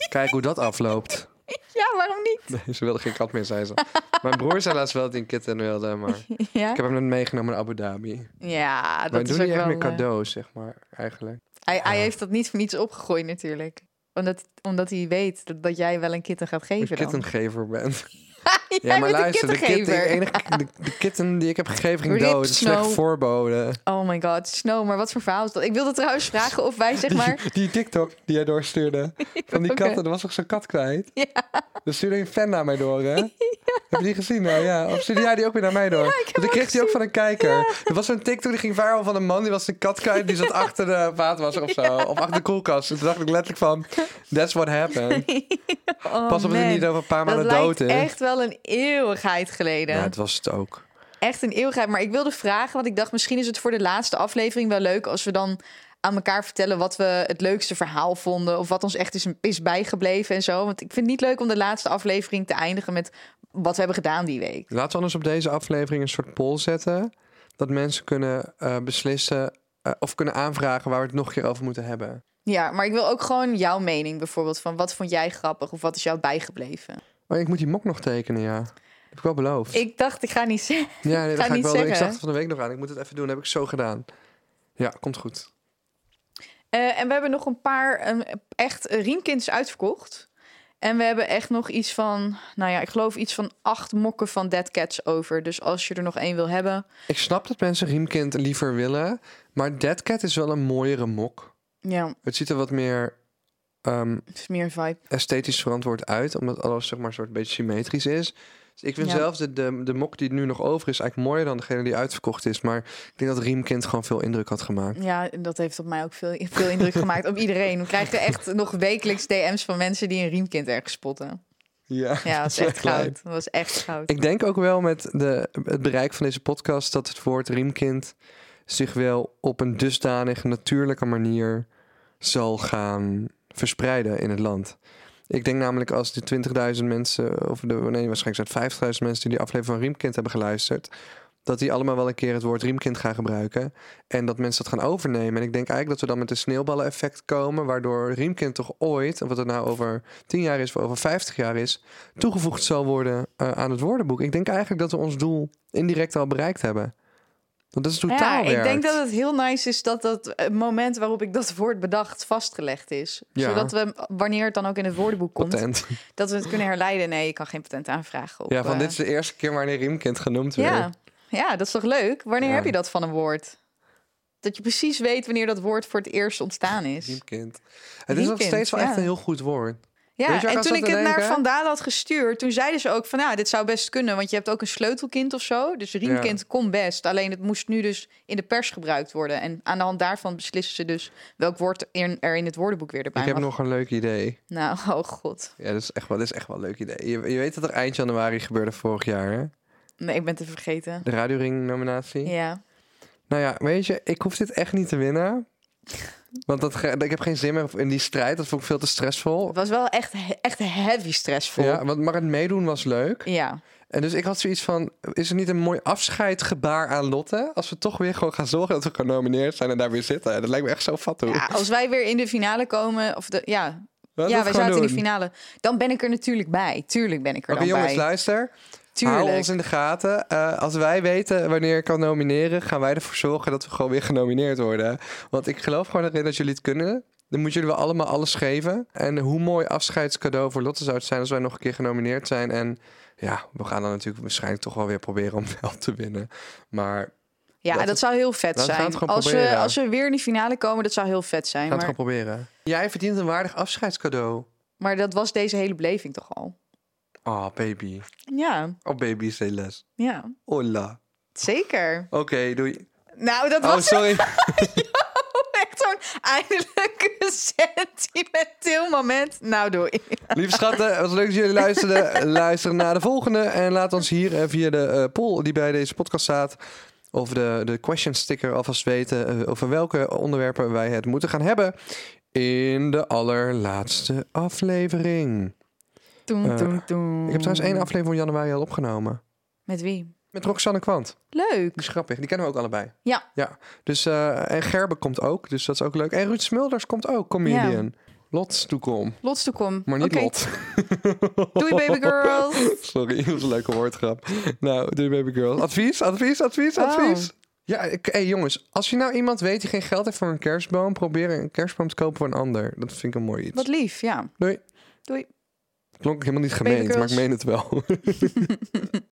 C: Kijk hoe dat afloopt.
D: Ja, waarom niet?
C: Nee, ze wilde geen kat meer, zei ze. Mijn broer zei laatst wel dat hij een kitten wilde, maar ik
D: Ja,
C: heb hem net meegenomen naar Abu Dhabi.
D: ja dat
C: Wij
D: is
C: doen
D: ook
C: niet echt
D: wel,
C: meer
D: eh,
C: cadeaus, zeg maar, eigenlijk.
D: Hij, hij heeft dat niet voor niets opgegooid natuurlijk. Omdat, omdat hij weet dat, dat jij wel een kitten gaat
C: Een
D: geven dan.
C: kittengever bent.
D: Jij
C: Ja, maar
D: bent
C: luister,
D: een
C: de, kitten, de,
D: kittengever.
C: enige, de, de kitten die ik heb gegeven ging
D: Rip
C: dood. Een slecht
D: Snow.
C: voorbode.
D: Oh my god, Snow, maar wat voor verhaal is dat? Ik wilde trouwens vragen of wij zeg maar...
C: Die, die TikTok die jij doorstuurde van die
D: Oké.
C: katten, er was toch zo'n kat kwijt? Ja. Dus stuurde een fan naar mij door, hè? Heb je die gezien nou? Ja. Of stuurde jij die ook weer naar mij door? Want ik kreeg die ook van een kijker. Er was zo'n TikTok die ging viral van een man, die was een kat kwijt, die zat achter de vaatwasser of zo. Of achter de koelkast. En toen dacht ik letterlijk van, that's what happened.
D: Oh
C: Pas op dat
D: man.
C: hij niet over een paar
D: Dat
C: maanden
D: lijkt
C: dood is.
D: echt wel een eeuwigheid geleden.
C: Ja, het was het ook.
D: Echt een eeuwigheid. Maar ik wilde vragen, want ik dacht misschien is het voor de laatste aflevering wel leuk als we dan aan elkaar vertellen wat we het leukste verhaal vonden. Of wat ons echt is, is bijgebleven en zo. Want ik vind het niet leuk om de laatste aflevering te eindigen met wat we hebben gedaan die week.
C: Laten we anders op deze aflevering een soort poll zetten. Dat mensen kunnen eh, beslissen eh, of kunnen aanvragen waar we het nog een keer over moeten hebben.
D: Ja, maar ik wil ook gewoon jouw mening bijvoorbeeld. Van wat vond jij grappig of wat is jou bijgebleven?
C: Oh, ik moet die mok nog tekenen, ja. Dat heb ik wel beloofd.
D: Ik dacht, ik ga niet zeggen.
C: ja, nee,
D: ga
C: dat ga ik
D: niet
C: wel doen. Ik
D: zeggen,
C: zag
D: hè?
C: het van de week nog aan. Ik moet het even doen. Dat heb ik zo gedaan. Ja, komt goed.
D: Eh, en we hebben nog een paar ehm, echt eh, riemkinders uitverkocht. En we hebben echt nog iets van, nou ja, ik geloof iets van acht mokken van Dead Cats over. Dus als je er nog één wil hebben.
C: Ik snap dat mensen Riemkind liever willen. Maar Dead Cat is wel een mooiere mok.
D: Ja,
C: Het ziet er wat meer ehm,
D: het is meer een vibe.
C: esthetisch verantwoord uit. Omdat alles zeg maar een soort beetje symmetrisch is. Dus ik vind
D: Ja.
C: zelf de, de, de mok die nu nog over is eigenlijk mooier dan degene die uitverkocht is. Maar ik denk dat Riemkind gewoon veel indruk had gemaakt.
D: Ja, en dat heeft op mij ook veel, veel indruk gemaakt. Op iedereen. We krijgen echt nog wekelijks DM's van mensen die een riemkind ergens spotten.
C: Ja.
D: Ja, dat is echt
C: lijp.
D: goud. Dat was echt goud.
C: Ik denk ook wel met de, het bereik van deze podcast dat het woord Riemkind zich wel op een dusdanig natuurlijke manier zal gaan verspreiden in het land. Ik denk namelijk als de 20.000 mensen, of de, nee, waarschijnlijk zijn het 50.000 mensen die die aflevering van Riemkind hebben geluisterd, dat die allemaal wel een keer het woord Riemkind gaan gebruiken en dat mensen dat gaan overnemen. En ik denk eigenlijk dat we dan met een sneeuwballen-effect komen, waardoor Riemkind toch ooit, of wat het nou over 10 jaar is of over 50 jaar is, toegevoegd zal worden eh, aan het woordenboek. Ik denk eigenlijk dat we ons doel indirect al bereikt hebben. Want dat is totaal
D: Ja, ik
C: werkt.
D: denk dat het heel nice is dat dat eh, moment waarop ik dat woord bedacht vastgelegd is.
C: Ja.
D: Zodat we, wanneer het dan ook in het woordenboek komt,
C: Patent.
D: dat we het kunnen herleiden. Nee, je kan geen patent aanvragen. Op,
C: Ja, van
D: eh,
C: dit is de eerste keer wanneer Riemkind genoemd werd.
D: ja. ja, dat is toch leuk? Wanneer
C: Ja.
D: heb je dat van een woord? Dat je precies weet wanneer dat woord voor het eerst ontstaan is.
C: Riemkind. Het is nog
D: Riemkind,
C: steeds wel echt
D: ja.
C: een heel goed woord. Weet
D: Ja,
C: je waar
D: en
C: ik aan
D: toen
C: zat
D: ik
C: te
D: het naar
C: denken?
D: Van Dalen had gestuurd, toen zeiden ze ook van, ja, dit zou best kunnen, want je hebt ook een sleutelkind of zo. Dus riemkind kon best, alleen het moest nu dus in de pers gebruikt worden. En aan de hand daarvan beslissen ze dus welk woord in- er in het woordenboek weer erbij
C: Ik heb
D: mag.
C: nog een leuk idee.
D: Nou, oh god.
C: Ja, dat is echt wel, dat is echt wel een leuk idee. Je, je weet dat er eind januari gebeurde vorig jaar, hè?
D: Nee, ik ben te vergeten.
C: De Radioring-nominatie.
D: Ja.
C: Nou ja, weet je, ik hoef dit echt niet te winnen. Want dat ge- ik heb geen zin meer in die strijd. Dat vond ik veel te stressvol.
D: Het was wel echt, he- echt heavy stressvol.
C: Ja, want, maar het meedoen was leuk.
D: ja.
C: En dus ik had zoiets van, is er niet een mooi afscheidgebaar aan Lotte? Als we toch weer gewoon gaan zorgen dat we genomineerd zijn en daar weer zitten. Dat lijkt me echt zo fat toe.
D: Ja, als wij weer in de finale komen, of de, ja,
C: Laten we
D: ja
C: het
D: wij
C: gewoon
D: zaten in
C: doen.
D: de finale, dan ben ik er natuurlijk bij. Tuurlijk ben ik er
C: Oké
D: dan
C: jongens,
D: bij.
C: luister. Hou
D: Tuurlijk.
C: ons in de gaten. Eh, als wij weten wanneer ik kan nomineren, gaan wij ervoor zorgen dat we gewoon weer genomineerd worden. Want ik geloof gewoon erin dat jullie het kunnen. Dan moeten jullie wel allemaal alles geven. En hoe mooi afscheidscadeau voor Lotte zou het zijn als wij nog een keer genomineerd zijn. En ja, we gaan dan natuurlijk waarschijnlijk toch wel weer proberen om wel te winnen. Maar
D: Ja,
C: Dat
D: dat,
C: het-
D: zou heel vet
C: laten we
D: zijn.
C: het gewoon
D: als, we,
C: proberen.
D: als we weer in de finale komen, dat zou heel vet zijn.
C: we gaan
D: Maar,
C: het gewoon proberen. Jij verdient een waardig afscheidscadeau.
D: maar dat was deze hele beleving toch al?
C: Oh, baby.
D: Ja,
C: Oh, baby, say less.
D: ja.
C: Hola.
D: Zeker.
C: Oké, doei.
D: Nou, dat
C: Oh,
D: was het
C: sorry.
D: echt zo'n eindelijk sentimenteel moment. Nou, doei.
C: Lieve schatten, het was leuk dat jullie luisterden. Luister naar de volgende. En laat ons hier eh, via de eh, poll die bij deze podcast staat... of de, de question sticker alvast weten... eh, over welke onderwerpen wij het moeten gaan hebben... in de allerlaatste aflevering.
D: Toen,
C: Eh,
D: toen, toen.
C: Ik heb trouwens één aflevering van januari al opgenomen.
D: Met wie?
C: Met Roxanne Kwant.
D: Leuk.
C: Die is grappig. Die kennen we ook allebei.
D: Ja.
C: ja. Dus, eh, en Gerbe komt ook, dus dat is ook leuk. En Ruud Smulders komt ook, comedian. Lots toekom,
D: Lots toekom.
C: maar niet
D: Oké.
C: Lot.
D: Doei, baby girls.
C: Sorry, dat was een leuke woordgrap. Nou, doei baby girls. Advies, advies, advies,
D: Oh.
C: advies. Ja, ik, hey jongens, als je nou iemand weet die geen geld heeft voor een kerstboom, probeer een kerstboom te kopen voor een ander. Dat vind ik een mooi iets.
D: Wat lief, ja.
C: Doei.
D: Doei.
C: Klonk helemaal niet
D: Baby
C: gemeend, maar
D: girls.
C: ik meen het wel.